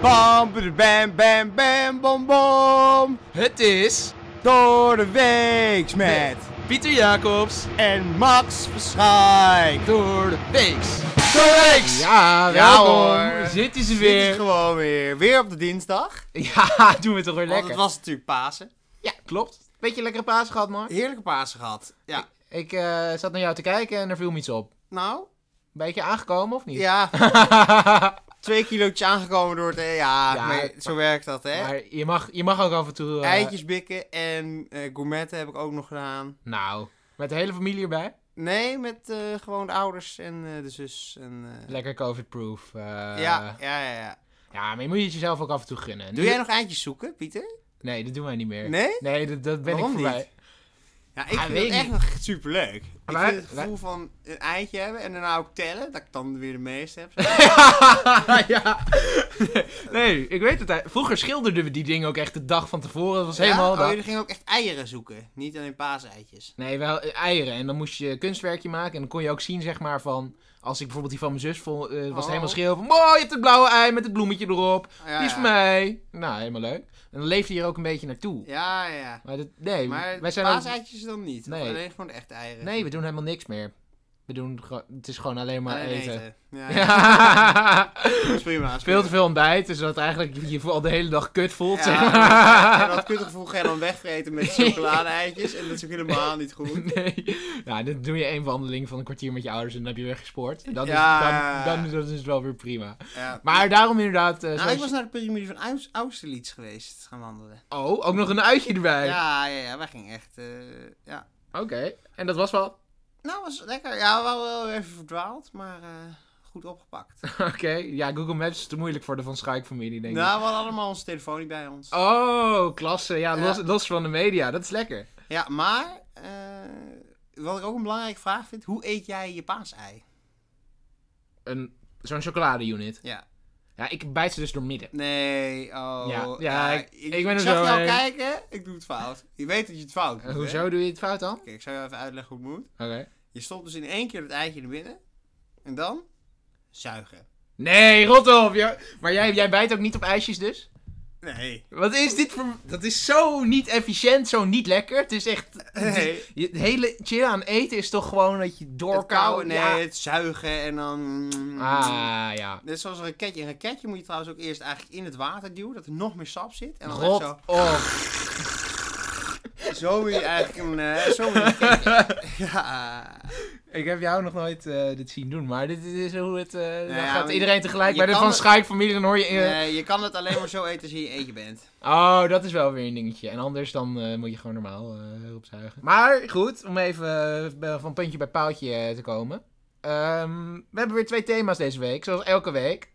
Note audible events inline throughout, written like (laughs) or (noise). Bam, bam, bam, bam, bam, bom, bom. Het is Door de weeks met Pieter Jacobs en Max Verschijk. door de Weeks. Door de weeks! Ja, welkom. hoor. Zitten ze Dit is weer. gewoon weer. Weer op de dinsdag. (laughs) Ja, doen we toch weer Want lekker. het was natuurlijk Pasen. Ja, klopt. Beetje lekkere paas gehad, man. Heerlijke Pasen gehad. Ja. Ik eh, zat naar jou te kijken en er viel me iets op. Nou, Beetje aangekomen of niet? (laughs) ja. Twee kilootjes aangekomen door het... eh, Ja, Ja, maar zo werkt dat, hè. Maar eh, je mag, je mag ook af en toe... eh, Eitjes bikken en eh gourmetten heb ik ook nog gedaan. Nou, met de hele familie erbij. Nee, met eh, gewoon de ouders en eh, de zus. En, eh, Lekker covid-proof. eh, ja, ja, ja, ja. Ja, maar je moet je het jezelf ook af en toe gunnen. Doe jij nog eindjes zoeken, Pieter? Nee, dat doen wij niet meer. Nee? Nee, dat, dat ben Waarom ik voorbij. Ja, ik Ah, vind weet het ik echt niet. nog superleuk. Ik Maar- vind het gevoel van een eindje hebben en daarna ook tellen, dat ik dan weer de meeste (laughs) heb. ja. Nee, ik weet het. eigenlijk. Vroeger schilderden we die dingen ook echt de dag van tevoren. Dat was Ja? helemaal... Oh, dat- jullie gingen ook echt eieren zoeken, niet alleen paaseitjes. Nee, wel eh, eieren. En dan moest je kunstwerkje maken. En dan kon je ook zien, zeg maar, van... Als ik bijvoorbeeld die van mijn zus vond, eh, was het Oh. helemaal schreeuw van... Mooi, je hebt het blauwe ei met het bloemetje erop. Ja, die is ja. van mij. Nou, helemaal leuk. En dan leefde je er ook een beetje naartoe. Ja, ja. Maar dat, nee, Maar wij zijn ook- paaseitjes dan niet, Nee. of alleen gewoon de echte eieren. Nee, we doen helemaal niks meer. We doen... gewoon- Het is gewoon alleen maar Alleen (laughs) eten. Ja, ja. Ja. Dat is prima. dat is Veel te prima. veel ontbijt, dus dat eigenlijk je je al de hele dag kut voelt, Ja, zeg en maar. dat kutgevoel ga je dan wegvreten (laughs) met chocolade-eitjes. En dat is ook helemaal niet goed. Nee. Ja, dan doe je één wandeling van een kwartier met je ouders en dan heb je weggespoord. Dat is, Ja. dan, dan, dat is het wel weer prima. Ja. Maar daarom inderdaad... eh, Nou, zoals ik was je- naar de piramide van Aus- Austerlitz geweest gaan wandelen. Oh, ook nog een uitje erbij. Ja, ja, ja, wij gingen echt. eh, ja. Oké, en dat was wel... Nou, was lekker. Ja, we waren wel even verdwaald, maar eh, goed opgepakt. (laughs) Oké, ja, Google Maps is te moeilijk voor de Van Schaik-familie, denk ik. Nou, we hadden allemaal onze telefoon niet bij ons. Oh, klasse. Ja, Ja. los, los van de media. Dat is lekker. Ja, maar eh, wat ik ook een belangrijke vraag vind: hoe eet jij je paasei? Een, zo'n chocoladeunit. Ja. Ja, ik bijt ze dus door midden. Nee, oh. Ja, ja, ik- ik ben er zag zo jou heen. kijken, ik doe het fout. Je weet dat je het fout doet. Eh, hè? hoezo doe je het fout dan? Oké. Oké, ik zal jou even uitleggen hoe het moet. Je stopt dus in één keer het eitje naar binnen. En dan zuigen. Nee, rot op. Ja. Maar jij, jij bijt ook niet op ijsjes dus? Nee. (laughs) Wat is dit voor... Dat is zo niet efficiënt, zo niet lekker. Het is echt... het is- Nee. je- het hele chill aan eten is toch gewoon dat je Het doorkauwt. kauwen, nee, ja. het zuigen en dan... Ah, ja. Net zoals een raketje. Een raketje moet je trouwens ook eerst eigenlijk in het water duwen, dat er nog meer sap zit. En dan Rot echt op. zo, zo moet je eigenlijk een... eh, zo moet je een (laughs) raketje. ja. Ik heb jou nog nooit eh, dit zien doen, maar dit is hoe het... eh, dan ja, gaat maar iedereen tegelijk Nou, je bij de kan Van het- Schaik-familie, dan hoor je... eh, Nee, je kan het alleen maar zo eten als je in je eentje bent. Oh, dat is wel weer een dingetje. En anders dan eh, moet je gewoon normaal eh opzuigen. Maar goed, om even eh, bij- van puntje bij paaltje eh, te komen. Ehm, we hebben weer twee thema's deze week, zoals elke week.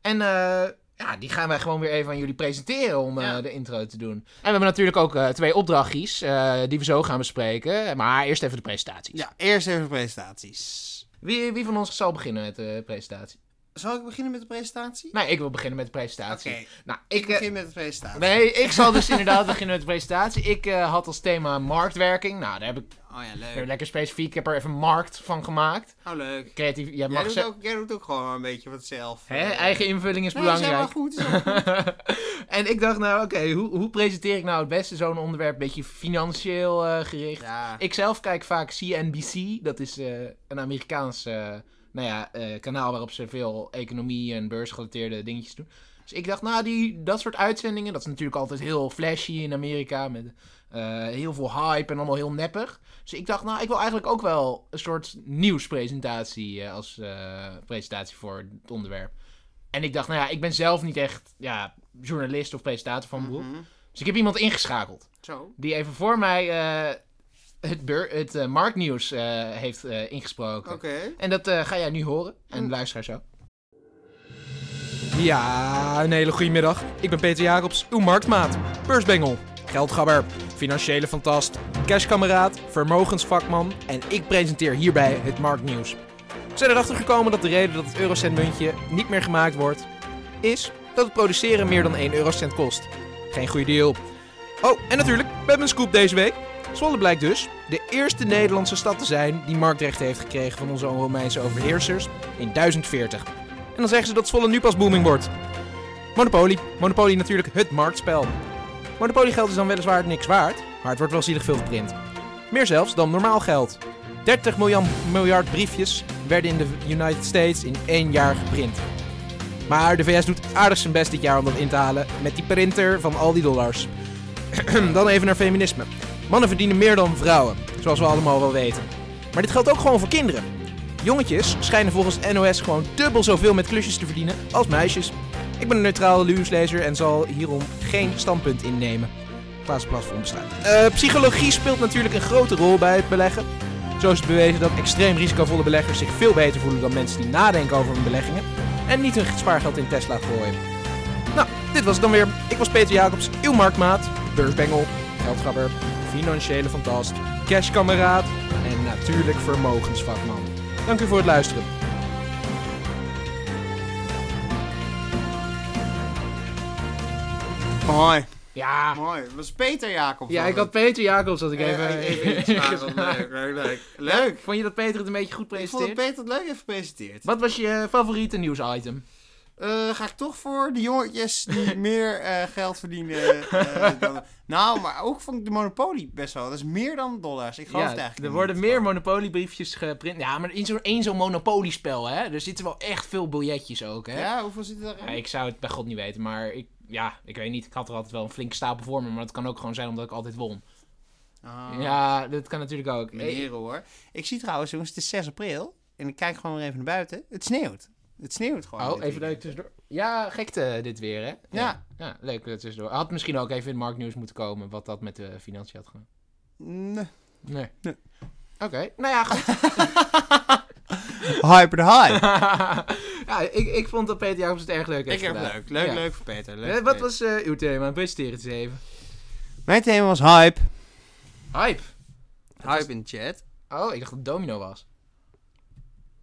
En eh, ja, die gaan wij gewoon weer even aan jullie presenteren om eh, Ja. de intro te doen. En we hebben natuurlijk ook eh, twee opdrachtjes eh, die we zo gaan bespreken. Maar eerst even de presentaties. Ja, eerst even presentaties. Wie, wie van ons zal beginnen met de presentatie? Zal ik beginnen met de presentatie? Nou, ik wil beginnen met de Oké, presentatie. ik Nou, ik, eh, begin met de presentatie. Nee, ik zal dus inderdaad beginnen met de presentatie. Ik eh, had als thema marktwerking. Nou, daar heb ik Oh ja, weer leuk. lekker specifiek. Ik heb er even markt van gemaakt. Oh, leuk. Creatief, jij Jij mag doet, zelf. ook, jij doet ook gewoon een beetje wat zelf. Hè, Eh, eigen invulling is nee, is helemaal belangrijk. goed. is (laughs) helemaal goed. en ik dacht, nou oké, hoe, hoe presenteer ik nou het beste zo'n onderwerp? Een beetje financieel eh, gericht. ja. Ik zelf kijk vaak CNBC. Dat is eh, een Amerikaans eh, nou ja, eh, kanaal waarop ze veel economie en beursgerelateerde dingetjes doen. Dus ik dacht, nou, die, dat soort uitzendingen, dat is natuurlijk altijd heel flashy in Amerika. Met eh, heel veel hype en allemaal heel neppig. Dus ik dacht, nou, ik wil eigenlijk ook wel een soort nieuwspresentatie eh, als eh, presentatie voor het onderwerp. En ik dacht, nou ja, ik ben zelf niet echt ja, journalist of presentator van beroep. Mhm. Dus ik heb iemand ingeschakeld Zo. die even voor mij eh, het, beur- het eh, marktnieuws eh, heeft eh, ingesproken. Oké. En dat eh, ga jij nu horen. En luister zo. Ja, een hele goede middag. Ik ben Peter Jacobs, uw marktmaat. Beursbengel, geldgabber, financiële fantast, cashkameraad, vermogensvakman. En ik presenteer hierbij het marktnieuws. We zijn erachter gekomen dat de reden dat het eurocentmuntje niet meer gemaakt wordt... is dat het produceren meer dan 1 eurocent kost. Geen goede deal. Oh, en natuurlijk, we hebben een scoop deze week. Zwolle blijkt dus de eerste Nederlandse stad te zijn die marktrechten heeft gekregen van onze Romeinse overheersers in 1040. En dan zeggen ze dat Zwolle nu pas booming wordt. Monopoly. Monopoly natuurlijk het marktspel. Monopoly geld is dan weliswaar niks waard, maar het wordt wel zielig veel geprint. Meer zelfs dan normaal geld. 30 miljoen, miljard briefjes werden in de United States in één jaar geprint. Maar de VS doet aardig zijn best dit jaar om dat in te halen met die printer van al die dollars. Ehm, dan even naar feminisme. Mannen verdienen meer dan vrouwen, zoals we allemaal wel weten. Maar dit geldt ook gewoon voor kinderen. Jongetjes schijnen volgens NOS gewoon dubbel zoveel met klusjes te verdienen als meisjes. Ik ben een neutrale nieuwslezer en zal hierom geen standpunt innemen. Plaats platform besluit. Eh, psychologie speelt natuurlijk een grote rol bij het beleggen. Zo is het bewezen dat extreem risicovolle beleggers zich veel beter voelen dan mensen die nadenken over hun beleggingen en niet hun spaargeld in Tesla gooien. Nou, dit was het dan weer. Ik was Peter Jacobs, uw marktmaat, beursbengel, geldgrabber, financiële fantast, cashkameraad en natuurlijk vermogensvakman. Dank u voor het luisteren. Mooi. Ja. Mooi. Dat was Peter Jacob. Ja, was ik het. had Peter Jacobs dat ik Eh, even... even iets (laughs) vragen. Leuk, leuk, leuk. Leuk. Vond je dat Peter het een beetje goed Ik vond dat presenteerde? Peter het leuk heeft gepresenteerd. Wat was je favoriete nieuwsitem? Eh, ga ik toch voor de jongetjes (laughs) die meer eh, geld verdienen. eh, dan- nou, maar ook vond ik de Monopoly best wel. Dat is meer dan dollars. Ik geloof het Ja, eigenlijk er niet. worden meer monopoliebriefjes geprint. Ja, maar in zo'n één zo'n monopoliespel, hè. Er zitten wel echt veel biljetjes ook, hè. Ja, hoeveel zit er Ja, in? ik zou het bij god niet weten, maar ik... Ja, ik weet niet. Ik had er altijd wel een flinke stapel voor me, maar dat kan ook gewoon zijn omdat ik altijd won. Ah, Ja, dat kan natuurlijk ook. Meneer hoor. Ik zie trouwens, jongens, het is 6 april. En ik kijk gewoon weer even naar buiten. Het sneeuwt. Het sneeuwt gewoon. Oh, dit even leuk weekend. tussendoor. Ja, gekte dit weer, hè? Ja. Ja, leuk dat tussendoor. Had misschien ook even in het marktnieuws moeten komen wat dat met de financiën had gedaan. Nee. Nee. Nee. Oké, nou (laughs) ja, goed. Hyper de high. (laughs) ja, ik, ik vond dat Peter Jacobs het erg leuk heeft Ik heb gedaan. het leuk. Leuk, Ja. leuk voor Peter. Leuk Eh, voor Wat Peter. was eh, uw thema? Presenteer het eens even. Mijn thema was hype. Hype. Hype in chat. Oh, ik dacht dat het domino was.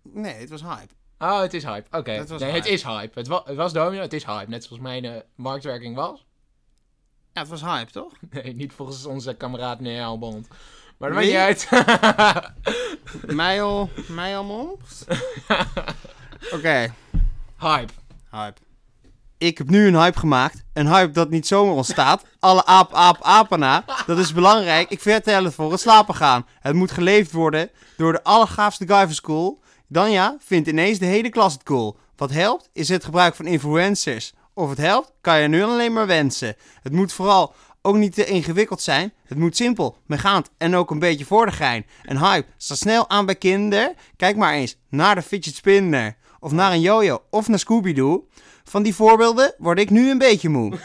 Nee, het was hype. Oh, het is hype. Oké. Het was Nee, het hype. is hype. Het, wa- het was domino, het is hype. Net zoals mijn eh, marktwerking was. (laughs) Ja, het was hype, toch? Nee, niet volgens onze kameraad Neil Bond. Maar dat maakt Wie? niet uit. (laughs) Mijl, Mijl Moms? Oké. hype. Hype. Ik heb nu een hype gemaakt. Een hype dat niet zomaar ontstaat. Alle aap, aap, apana. Dat is belangrijk. Ik vertel het voor het slapen gaan. Het moet geleefd worden door de allergaafste guy van school. Dan ja, vindt ineens de hele klas het cool. Wat helpt, is het gebruik van influencers. Of het helpt, kan je nu alleen maar wensen. Het moet vooral ook niet te ingewikkeld zijn. Het moet simpel, megaand en ook een beetje voor de gein. En hype staat snel aan bij kinder. Kijk maar eens naar de fidget spinner. Of naar een yo-yo. Of naar Scooby-Doo. Van die voorbeelden word ik nu een beetje moe.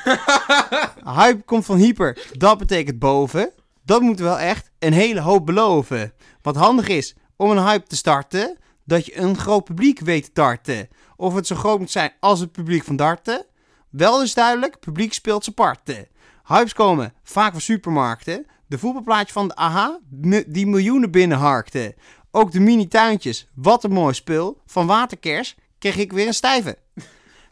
hype komt van hyper. Dat betekent boven. Dat moet wel echt een hele hoop beloven. Wat handig is om een hype te starten. Dat je een groot publiek weet te tarten. Of het zo groot moet zijn als het publiek van darten. Wel is duidelijk, publiek speelt zijn parten. Hypes komen vaak van supermarkten. De voetbalplaatje van de AH m- die miljoenen binnenharkte. Ook de mini-tuintjes, wat een mooi spul. Van waterkers kreeg ik weer een stijve.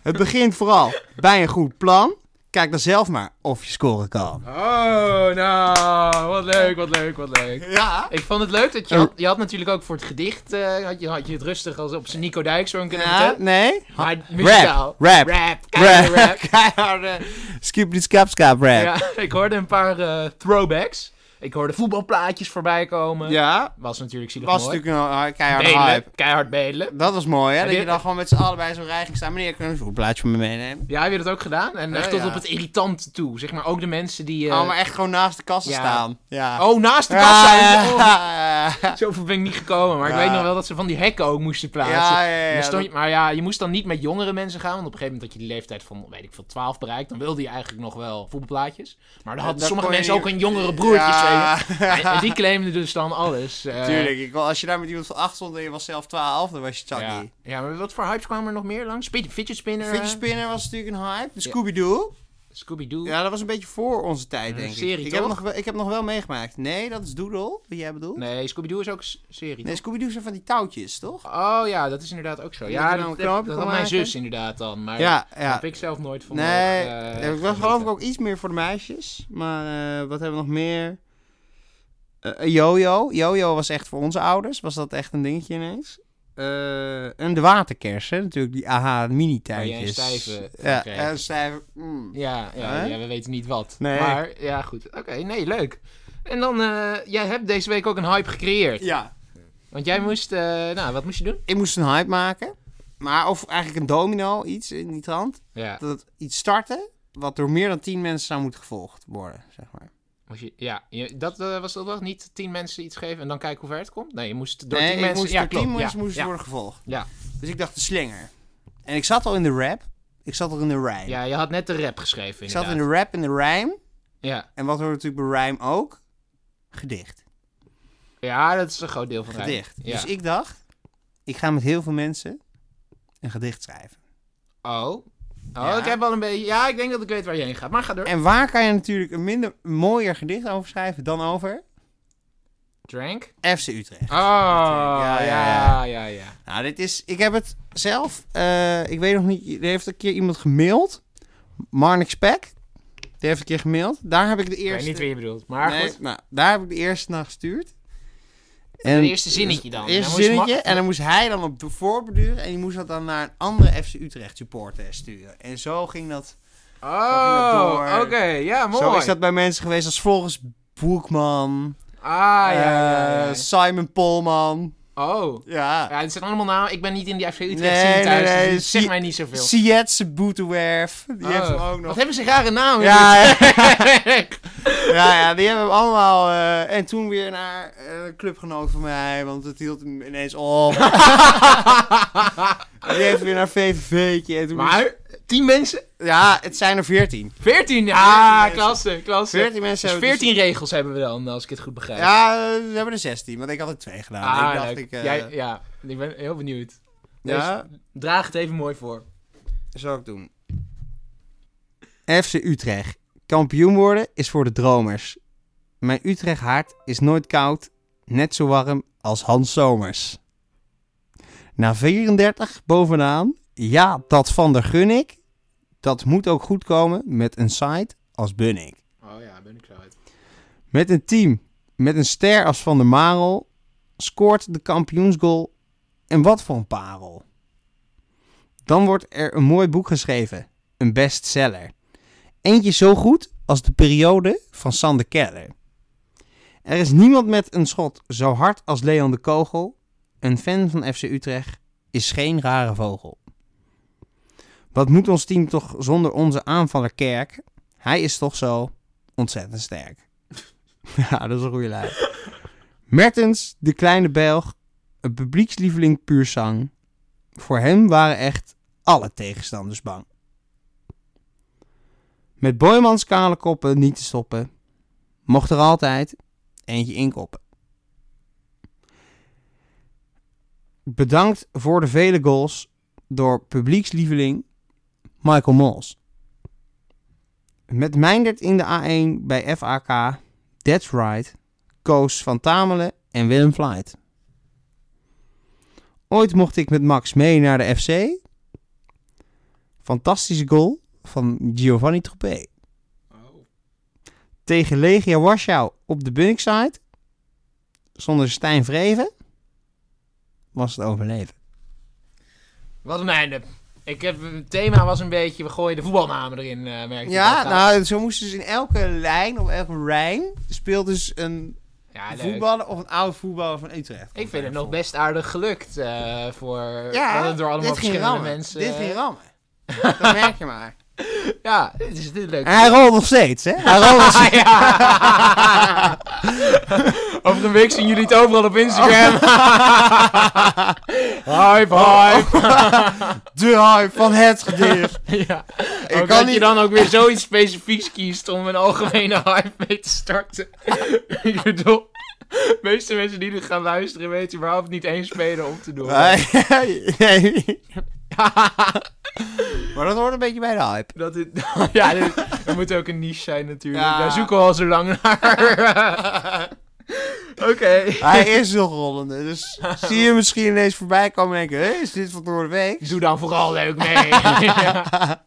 Het begint vooral bij een goed plan. Kijk dan zelf maar of je scoren kan. Oh, nou, wat leuk, wat leuk, wat leuk. Ja. (laughs) Ik vond het leuk dat je had, je had natuurlijk ook voor het gedicht, eh, had, je, had je het rustig als op zijn Nico Dijkshoorn kunnen vertellen. nee. Maar muzikaal. rap, Rap, keiharde rap. Keiharde. Skip die skap skap rap. Ja. (laughs) Ja, ik hoorde een paar eh, throwbacks. Ik hoorde voetbalplaatjes voorbij komen. Was natuurlijk zielig was mooi. natuurlijk een eh, keiharde bedelen, hype. keihard bedelen. Dat was mooi, hè? Heb Dat je je- dan gewoon met z'n allen bij zo'n rij ging staan. Meneer, kunnen we een plaatje van me meenemen? Ja, heb je dat ook gedaan? En Ja, echt tot ja. op het irritant toe. Zeg maar ook de mensen die... eh, Oh, maar echt gewoon naast de kassen ja. staan. Ja. oh, naast de Ja, kassa. Oh, ja, ja. Zoveel ben ik niet gekomen, maar ik Ja. weet nog wel dat ze van die hekken ook moesten plaatsen. Ja, ja, ja, En dan stond dat- je- maar ja, je moest dan niet met jongere mensen gaan, want op een gegeven moment dat je die leeftijd van, weet ik veel, 12 bereikt, dan wilde je eigenlijk nog wel voetbalplaatjes. Maar dan hadden Dat sommige kon je mensen niet- ook een jongere broertje. Ja. (laughs) zeg maar. En, en die claimden dus dan alles. eh, Tuurlijk, ik, wou- als je daar met iemand van acht stond en je was zelf 12, dan was je Chucky. Ja. ja, maar wat voor hypes kwamen er nog meer langs? Spit- Fidget spinner, Fidget eh, Spinner was natuurlijk een hype. De Scooby-Doo. Scooby-Doo. Ja, dat was een beetje voor onze tijd, Een denk ik. serie, ik, heb toch? nog, wel- ik heb nog wel meegemaakt. Nee, dat is Doodle, wat jij bedoelt. Nee, Nee, Scooby-Doo is ook een serie. Scooby-Doo zijn van die touwtjes, toch? Oh ja, dat is inderdaad ook zo. Dat Ja, je dan dat, een knopje dat kon had mijn maken. zus inderdaad dan, maar Ja, daar ja. heb ik zelf nooit van Nee, mogen, eh, ik was geloof genieten. ik ook iets meer voor de meisjes. Maar eh, wat hebben we nog meer? Eh, Jojo. Jojo was echt voor onze ouders. Was dat echt een dingetje ineens? eh, en de waterkersen, natuurlijk die AH Waar jij een mini-tijdjes. stijve van Ja, kreeg. en stijve. mm. Ja, ja, Hè? ja, we weten niet wat. Nee. Maar ja, goed. Oké, nee, leuk. En dan, eh, jij hebt deze week ook een hype gecreëerd. Ja, Want jij moest, eh, nou, wat moest je doen? ik moest een hype maken. Maar of eigenlijk een domino, iets in die trant. Ja, Dat het iets starten, wat door meer dan tien mensen zou moeten gevolgd worden, zeg maar. moest je, ja je- dat eh, was de opdracht. Niet tien mensen iets geven en dan kijken hoe ver het komt. Nee, je moest door nee, tien ik mensen. moest ja, door tien klopt, mensen ja, moest ja. worden gevolgd. Ja. Dus ik dacht de slinger. En ik zat al in de rap. Ik zat al in de rhyme. Ja, je had net de rap geschreven ik zat inderdaad. in de rap en de rhyme. ja. En wat hoort natuurlijk bij rhyme ook? Gedicht. ja, dat is een groot deel van het rijden. Gedicht. Ja. Dus ik dacht, ik ga met heel veel mensen een gedicht schrijven. Oh, oh Ja. ik heb al een beetje... Ja, ik denk dat ik weet waar je heen gaat. Maar ga door. En waar kan je natuurlijk een minder een mooier gedicht over schrijven dan over Drank? FC Utrecht? Oh, ja, ja, ja, ja. ja. ja. Nou, dit is. Ik heb het zelf. eh, ik weet nog niet. Er heeft een keer iemand gemaild. Marnix Speck. Die heeft een keer gemaild. Daar heb ik de Ik eerste. weet niet wie je bedoelt, maar Nee, goed. nou, daar heb ik de eerste naar gestuurd. En Het eerste zinnetje dan. het eerste Dan moest zinnetje. Max- En dan moest hij dan op de voorbeduren. En die moest dat dan naar een andere FC Utrecht supporter sturen. En zo ging dat. Oh, ging dat oké. door. Ja, mooi. Zo is dat bij mensen geweest als volgens Boekman. Ah, ja, ja, ja, eh, Simon Polman. Oh. Ja. Ja, het zijn allemaal namen. Ik ben niet in die FC Utrecht Nee, scene thuis, nee, nee, dus het zegt zie- mij niet zoveel. Sietse Boetewerf. Die Oh. heeft hem ook nog. Wat hebben ze rare namen? Ja, jongens? Ja, ja, die hebben we allemaal. eh, en toen weer naar eh, een clubgenoot van mij, want het hield hem ineens (laughs) op. die heeft weer naar VVV'tje. En toen (laughs) maar, tien mensen? Ja, het zijn er veertien. Veertien? Ja, mensen. klasse, klasse. Veertien mensen Dus hebben veertien regels hebben we dan, als ik het goed begrijp. Ja, eh, we hebben er zestien, want ik had er twee gedaan. Ah, ik dacht, leuk. ik... eh, Jij- dus- ja, ik ben heel benieuwd. ja, Draag het even mooi voor. dat zou ik doen. FC Utrecht. Kampioen worden is voor de dromers. Mijn Utrecht hart is nooit koud, net zo warm als Hans Somers. Na 34 bovenaan, ja, dat van der Gunnik. Dat moet ook goed komen met een site als Bunnik. Oh ja, ben ik zo uit. Met een team, met een ster als Van der Marel, scoort de kampioensgoal. En wat voor een parel. Dan wordt er een mooi boek geschreven, een bestseller. Eentje zo goed als de periode van Sander Keller. Er is niemand met een schot zo hard als Leon de Kogel. Een fan van FC Utrecht is geen rare vogel. Wat moet ons team toch zonder onze aanvaller Kerk? Hij is toch zo ontzettend sterk. (laughs) Ja, dat is een goede lijn. Mertens, de kleine Belg, een publiekslieveling puur zang. Voor hem waren echt alle tegenstanders bang. Met Boymans kale koppen niet te stoppen, mocht er altijd eentje inkoppen. Bedankt voor de vele goals door publiekslieveling Michael Mols. Met Mijndert in de A1 bij FAK That's Right, Koos van Tamelen en Willem Vliet. Ooit mocht ik met Max mee naar de FC. Fantastische goal van Giovanni Troepé. Oh. Tegen Legia Warschau op de Bunningside. Zonder Stijn Vreven was het overleven. Wat een einde. Ik heb, het thema was een beetje, we gooien de voetbalnamen erin, eh merk ik Ja, altijd. nou, zo moest dus in elke lijn, op elke rijn, speelt dus een ja, Ah, leuk. voetballer of een oud voetballer van Utrecht. Ik vind het nog best aardig gelukt eh, voor Ja, dat het door allemaal dit ging verschillende rammen. mensen. eh, Dit ging (laughs) rammen. Dat merk je maar. ja, dit is dit (laughs) is leuk. (laughs) En (laughs) hij rolt nog steeds, hè? Hij rolt (laughs) nog steeds. Ja. Over een week zien jullie het overal op Instagram. Oh. Hype, hype. (laughs) De hype van het gedicht. (laughs) Ja. Ik kan kan dat je niet- dan ook weer zoiets specifieks kiest om een algemene (laughs) hype mee te starten. (laughs) Ik bedoel, de meeste mensen die dit gaan luisteren weten überhaupt niet één speler om te doen. (laughs) Nee. (laughs) maar dat hoort een beetje bij de hype. Dat dit, (laughs) ja, dit, er moet ook een niche zijn natuurlijk. Ja. Daar zoeken we al zo (laughs) lang naar. Oké. Hij is nog rollende, (laughs) dus zie je misschien ineens voorbij komen en denken, hé, is dit van Noorderweek? Doe dan vooral leuk (laughs) mee. (laughs) Ja.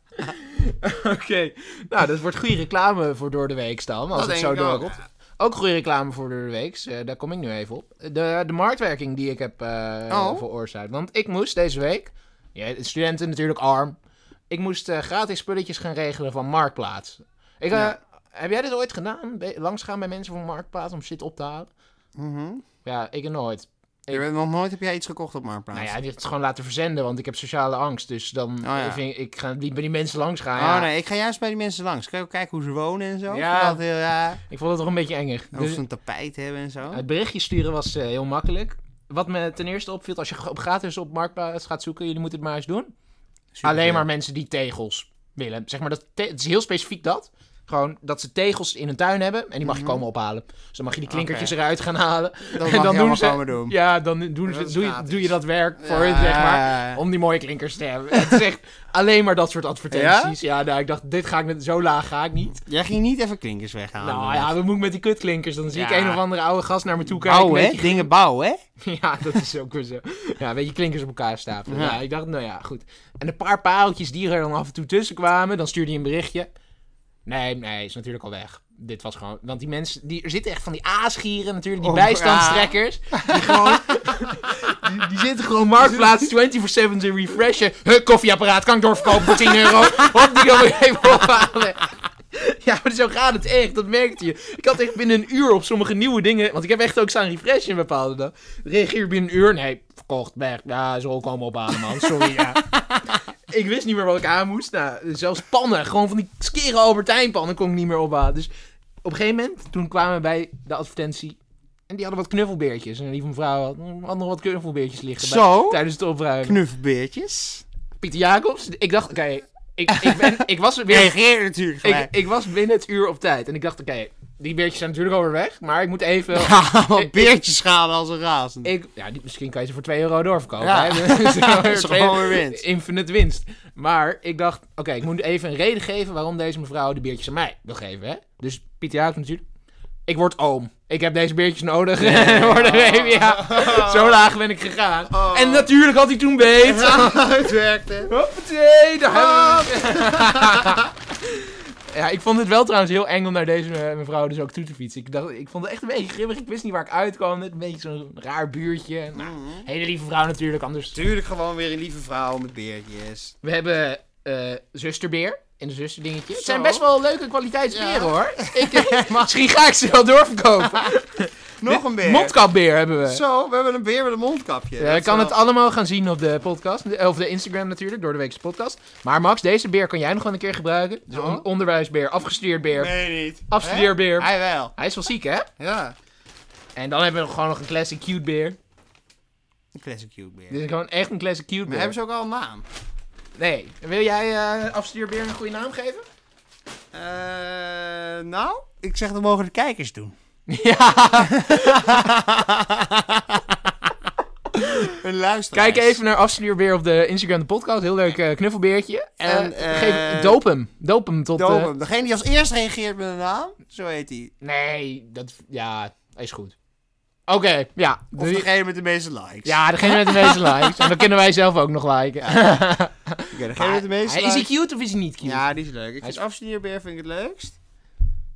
Oké. Nou, dat wordt goede reclame voor door de week dan, als Dat het denk zo ik ook, doorkomt. Ook goede reclame voor de week. eh, daar kom ik nu even op. De, de marktwerking die ik heb eh Oh. veroorzaakt. Want ik moest deze week. Ja, studenten natuurlijk arm. Ik moest eh, gratis spulletjes gaan regelen van Marktplaats. Ik, eh, Ja. Heb jij dit ooit gedaan? Be- Langsgaan bij mensen van Marktplaats om shit op te halen? Mhm. Ja, ik nooit. Je bent nog nooit heb jij iets gekocht op Marktplaats? Nou ja, dit is gewoon laten verzenden, want ik heb sociale angst. Dus dan Oh ja. vind ik, ik ga niet bij die mensen langs gaan. Oh ja. nee, ik ga juist bij die mensen langs. Kijk, kijken hoe ze wonen en zo. Ja. Ja. Dat, heel- ja. Ik vond het toch een beetje enger. En Dus- Nou, Of ze een tapijt hebben en zo. Het berichtje sturen was eh, heel makkelijk. Wat me ten eerste opviel, als je op gratis op Marktplaats gaat zoeken, jullie moeten het maar eens doen. Super Alleen chill. maar mensen die tegels willen. Zeg maar, dat te- het is heel specifiek dat. Gewoon dat ze tegels in een tuin hebben en die mag Mhm. je komen ophalen. Dus dan mag je die klinkertjes eruit gaan halen. (laughs) Dat mag dan dan doen je ze- ze... komen doen. Ja, dan doen Dat ze, is doe, je, gratis. doe je dat werk voor hun, zeg maar. Om die mooie klinkers te hebben. Het is echt alleen maar dat soort advertenties. Ja, nou, ik dacht, dit ga ik net, zo laag ga ik niet. Jij ging niet even klinkers weghalen. nou ja, we moeten met die kutklinkers. Dan zie ik Ah, Ja. een of andere oude gast naar me toe kijken. bouwen, met hè? die Dingen bouwen, hè? (laughs) Ja, dat is ook weer zo. Ja, weet je, klinkers op elkaar stapelen. Ja. Ja. ik dacht, nou ja, goed. En een paar pareltjes die er dan af en toe tussen kwamen, dan stuurde hij een berichtje. Nee, nee, is natuurlijk al weg. Dit was gewoon... Want die mensen... Die, er zitten echt van die aasgieren natuurlijk, die Oh, bijstandstrekkers. Die gewoon... die, die zitten gewoon marktplaats 24-7 te refreshen. Huh, koffieapparaat, kan ik doorverkopen voor 10 euro? Hop, die kan ik even ophalen. Ja, maar zo gaat het echt, dat merkte je. Ik had echt binnen een uur op sommige nieuwe dingen... Want ik heb echt ook staan refreshen bepaalde dag. Reageer binnen een uur. Nee, verkocht, weg. Ja, zo komen ophalen, man. Sorry, ja. Ik wist niet meer wat ik aan moest. Nou, zelfs pannen. Gewoon van die skere Albertijnpannen kon ik niet meer ophalen. Dus op een gegeven moment, toen kwamen we bij de advertentie... En die hadden wat knuffelbeertjes. En die van vrouw had, had nog wat knuffelbeertjes liggen bij- Zo, tijdens het opruimen. knuffelbeertjes. Pieter Jacobs. Ik dacht, oké, ik, ik, (laughs) ben- ik was weer... Reageer natuurlijk Ik, gelijk. ik was binnen het uur op tijd. En ik dacht, oké, die beertjes zijn natuurlijk alweer weg. Maar ik moet even... (laughs) Ja, want ik- beertjes gaan als een razend. Ik, ja, die- misschien kan je ze voor 2 euro doorverkopen. Ja. hè. (laughs) Dat is (laughs) wel Dat weer is twee- gewoon weer winst. Infinite winst. Maar ik dacht, oké, ik moet even een reden geven waarom deze mevrouw de beertjes aan mij wil geven. Hè? Dus Pieter Jacobs natuurlijk. Ik word oom. Ik heb deze beertjes nodig. (laughs) Voor de baby, ja. Zo laag ben ik gegaan. En natuurlijk had hij toen beet. het werkte. Hoppatee, daar hebben we het. (laughs) Ja, ik vond het wel trouwens heel eng om naar deze eh, mevrouw dus ook toe te fietsen. Ik, dacht, ik vond het echt een beetje grimmig. Ik wist niet waar ik uitkwam. Net een beetje zo'n raar buurtje. Nou, hele lieve vrouw natuurlijk, anders... Tuurlijk gewoon weer een lieve vrouw met beertjes. We hebben eh, zusterbeer in de zusterdingetje. Het zijn Zo. best wel leuke kwaliteitsberen Ja. (laughs) eh, hoor. Ik, (laughs) misschien ga ik ze wel doorverkopen. Nog een beer. Mondkapbeer hebben we. Zo, we hebben een beer met een mondkapje. Ja, Dat je is kan wel- het allemaal gaan zien op de podcast. De- Of de Instagram natuurlijk, door de weekse podcast. Maar Max, deze beer kan jij nog wel een keer gebruiken. Dus on- Oh. onderwijsbeer, afgestudeerd beer, Nee, niet. Hè? afstudeerbeer. Hij wel. Hij is wel ziek, hè? Ja. En dan hebben we nog gewoon nog een classic cute beer. Een classic cute beer. Dit is gewoon echt een classic cute Maar beer. hebben ze ook al een naam? Nee. Wil jij eh afstudeerbeer een goede naam geven? Eh, nou, ik zeg dat mogen de kijkers doen. (laughs) ja. (laughs) Een luisteraar. Kijk even naar afstudeerbeer op de Instagram de podcast. Heel leuk eh, knuffelbeertje. En, En eh, geef, doop hem. Doop hem tot... eh, Dopen. Degene die als eerst reageert met een naam, zo heet hij. nee, dat... Ja, is goed. Oké, ja. Of Doe- degene met de meeste likes. Ja, degene met de (laughs) meeste likes. En dan kunnen wij zelf ook nog liken. Oké, degene met de meeste is likes. hij cute of is hij niet cute? Ja, die is leuk. Ik Hij vind afstudeerbeer vind ik het leukst.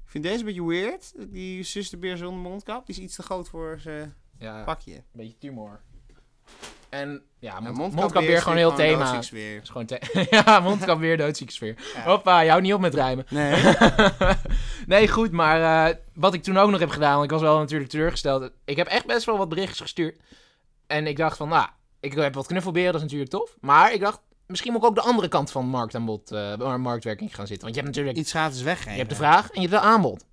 Ik vind deze een beetje weird. Die zusterbeer zonder mondkap, die is iets te groot voor zijn Ja, pakje. een beetje tumor. En ja, mond, Ja, mondkapbeer gewoon heel is thema. doodziek Is weer. gewoon the- (laughs) ja, mondkapbeer, doodzieke sfeer. Ja. Hoppa, je houdt niet op met rijmen. Nee. (laughs) nee, goed, maar eh, wat ik toen ook nog heb gedaan, want ik was wel natuurlijk teleurgesteld. Ik heb echt best wel wat berichtjes gestuurd. En ik dacht van, nou, ik heb wat knuffelberen, dat is natuurlijk tof. Maar ik dacht, misschien moet ik ook de andere kant van marktaanbod, eh, marktwerking gaan zitten. Want je hebt (laughs) natuurlijk Iets gratis weggeven. Je hebt de vraag en je hebt de aanbod.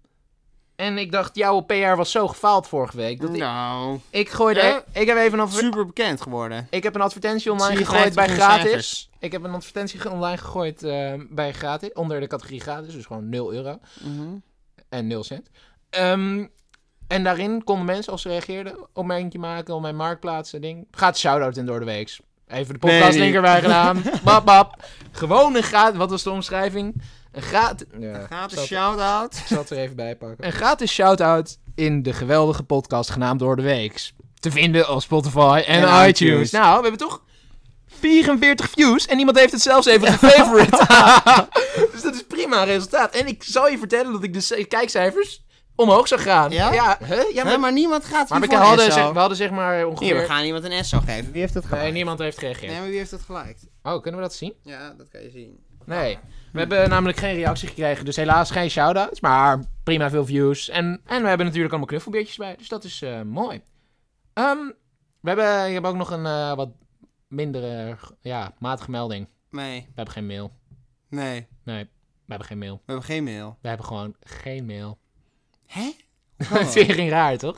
En ik dacht, jouw PR was zo gefaald vorige week. Dat ik, Nou, ik gooide. Ja. Ik, heb even een adver- super bekend geworden. ik heb een advertentie Zie online je gegooid bij 50% gratis. cijfers. Ik heb een advertentie ge- online gegooid eh, bij gratis. Onder de categorie gratis. Dus gewoon 0 euro Mhm. en 0 cent. Ehm, en daarin konden mensen, als ze reageerden, opmerkingen maken op mijn marktplaats en ding. Gaat shout-out in door de weeks. Even de Nee, podcast niet. linker bij gedaan. bap, bap. Gewoon een gratis. Wat was de omschrijving? Een gratis. Ja, Gratis zat- shout-out. Ik zal het er even bij pakken. Een gratis shout-out in de geweldige podcast genaamd Door de Weeks. Te vinden op Spotify en, En iTunes. iTunes. Nou, we hebben toch 44 views en niemand heeft het zelfs even (laughs) gefavorite. dus dat is prima resultaat. En ik zal je vertellen dat ik de c- kijkcijfers omhoog zou gaan. (laughs) Ja? Ja, hè? ja maar, Hè, maar niemand gaat maar hier we, voor een hadden SO. zeg, we hadden zeg maar Hier, ongeveer... we gaan iemand een SO geven. Wie heeft het Nee, geliked? niemand heeft gereageerd. Nee, maar wie heeft het geliked? Oh, kunnen we dat zien? Ja, dat kan je zien. Nee. We hebben namelijk geen reactie gekregen, dus helaas geen shout-outs. Maar prima veel views. En, en we hebben natuurlijk allemaal knuffelbeertjes bij, dus dat is eh, mooi. Ehm, we hebben, ik heb ook nog een eh, wat mindere, ja, matige melding. Nee, We hebben geen mail. nee. Nee, we hebben geen mail. We hebben geen mail. We hebben gewoon geen mail. Hè? (laughs) Oh. Dat (laughs) vind je geen raar, toch?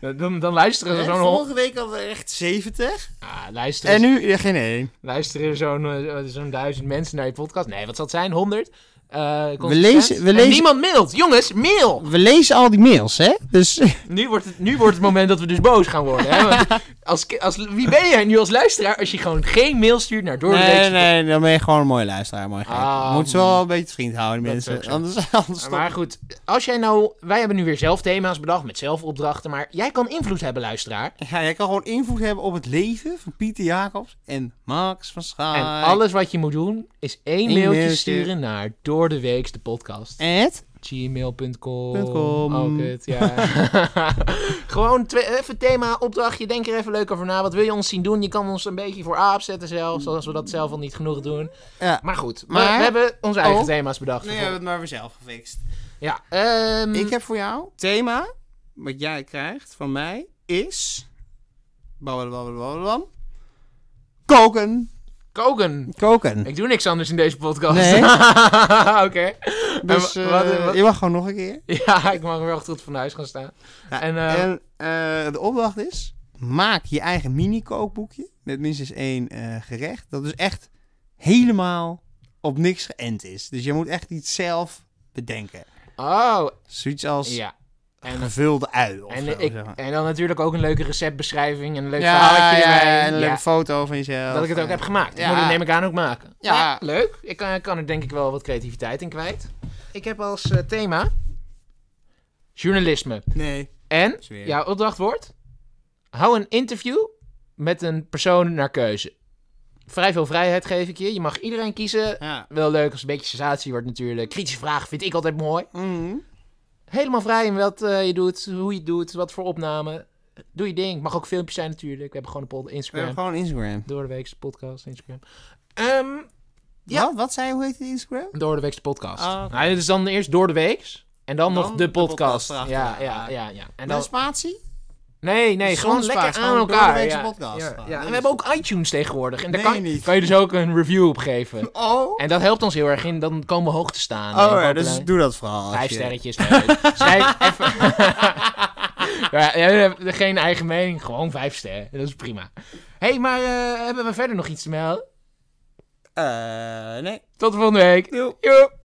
(laughs) dan, dan luisteren er Hè, zo'n... Vorige week hadden we echt 70. Ah, luisteren En nu ja, geen één. luisteren zo'n eh, zo'n duizend mensen naar je podcast. Nee, wat zal het zijn? 100? Eh, consistent. lezen- we En lezen- niemand mailt. Jongens, mail! We lezen al die mails, hè? (laughs) Dus Nu wordt, het, nu wordt het moment dat we dus boos gaan worden. Hè? Want als, ki- als, wie ben jij nu als luisteraar als je gewoon geen mail stuurt naar door de nee, Weekse- nee, dan ben je gewoon een mooie luisteraar, mooi gek. Ah, Moet ze wel een beetje vriend houden, Dat mensen. is ook zo. Anders, (laughs) anders Maar, stop- Maar goed, als jij nou... Wij hebben nu weer zelf thema's bedacht met zelf opdrachten. Maar jij kan invloed hebben, luisteraar. Ja, jij kan gewoon invloed hebben op het leven van Pieter Jacobs en Max van Schaik. En alles wat je moet doen is één Ah, Eén mailtje, mailtje. sturen naar door de weeks de podcast. Ed? gmail.com. Punt com. Oh, kut, ja. (laughs) Gewoon twee, even thema, opdrachtje. Denk er even leuk over na. Wat wil je ons zien doen? Je kan ons een beetje voor aap zetten zelfs. Als we dat zelf al niet genoeg doen. Ja. Maar goed, we, Maar- we hebben onze eigen Oh. thema's bedacht. het maar weer zelf gefixt. Ja, ehm, Ik heb voor jou thema, wat jij krijgt van mij, is... Blablabla. Koken. koken. Koken. Ik doe niks anders in deze podcast. Nee. (laughs) Oké. Dus En wa- wat- eh, wat- je mag gewoon nog een keer. (laughs) Ja, ik mag wel goed van huis gaan staan. Ja, En, en eh, eh, de opdracht is: maak je eigen mini-kookboekje met minstens één eh, gerecht. Dat dus echt helemaal op niks geënt is. Dus je moet echt iets zelf bedenken. Oh, Zoiets als ja. En, een gevulde ui. Of zo, en, ik, zeg maar. en dan natuurlijk ook een leuke receptbeschrijving en een leuk ja, verhaaltje ja, erbij. en een Ja. leuke foto van jezelf. Dat ik het ook eh. heb gemaakt. Dat ja. moet ik neem ik aan ook maken. Ja. Maar leuk. Ik kan, kan er denk ik wel wat creativiteit in kwijt. Ik heb als eh, thema journalisme. Nee. En Zweer. jouw opdracht wordt: hou een interview met een persoon naar keuze. Vrij veel vrijheid geef ik je. Je mag iedereen kiezen. Ja. Wel leuk als het een beetje sensatie wordt natuurlijk. Kritische vragen vind ik altijd mooi. Mhm. Helemaal vrij in wat eh, je doet, hoe je het doet, wat voor opname. Doe je ding. Mag ook filmpjes zijn natuurlijk. We hebben gewoon een pod- We Instagram. hebben gewoon Instagram. Door de weekse podcast, Instagram. Ehm Ja. Ja. Wat, wat zei je? Hoe heet het Instagram? door de weekse podcast. Ah, oké. Nou, dit is dan eerst door de weeks. En dan, Dan nog de de podcast. podcast ja, erachter. ja, ja, ja. En En dan, spatie? nee, nee, Dus gewoon zonder lekker spaas, aan gewoon door elkaar. de weekse ja. podcast. Ja, Ah, ja. dat En we is hebben ook iTunes tegenwoordig. En daar Nee, kan, niet. kan je dus ook een review op geven. Oh. En dat helpt ons heel erg in. Dan komen we hoog te staan. Oh, En ja, populair. dus doe dat vooral. als Vijf je- sterretjes. nee, (laughs) Schrijf even. (laughs) ja, jij hebt geen eigen mening, gewoon vijf sterren. Dat is prima. Hé, hey, maar eh, hebben we verder nog iets te melden? Eh, nee. Tot de volgende week. Doei. Joep.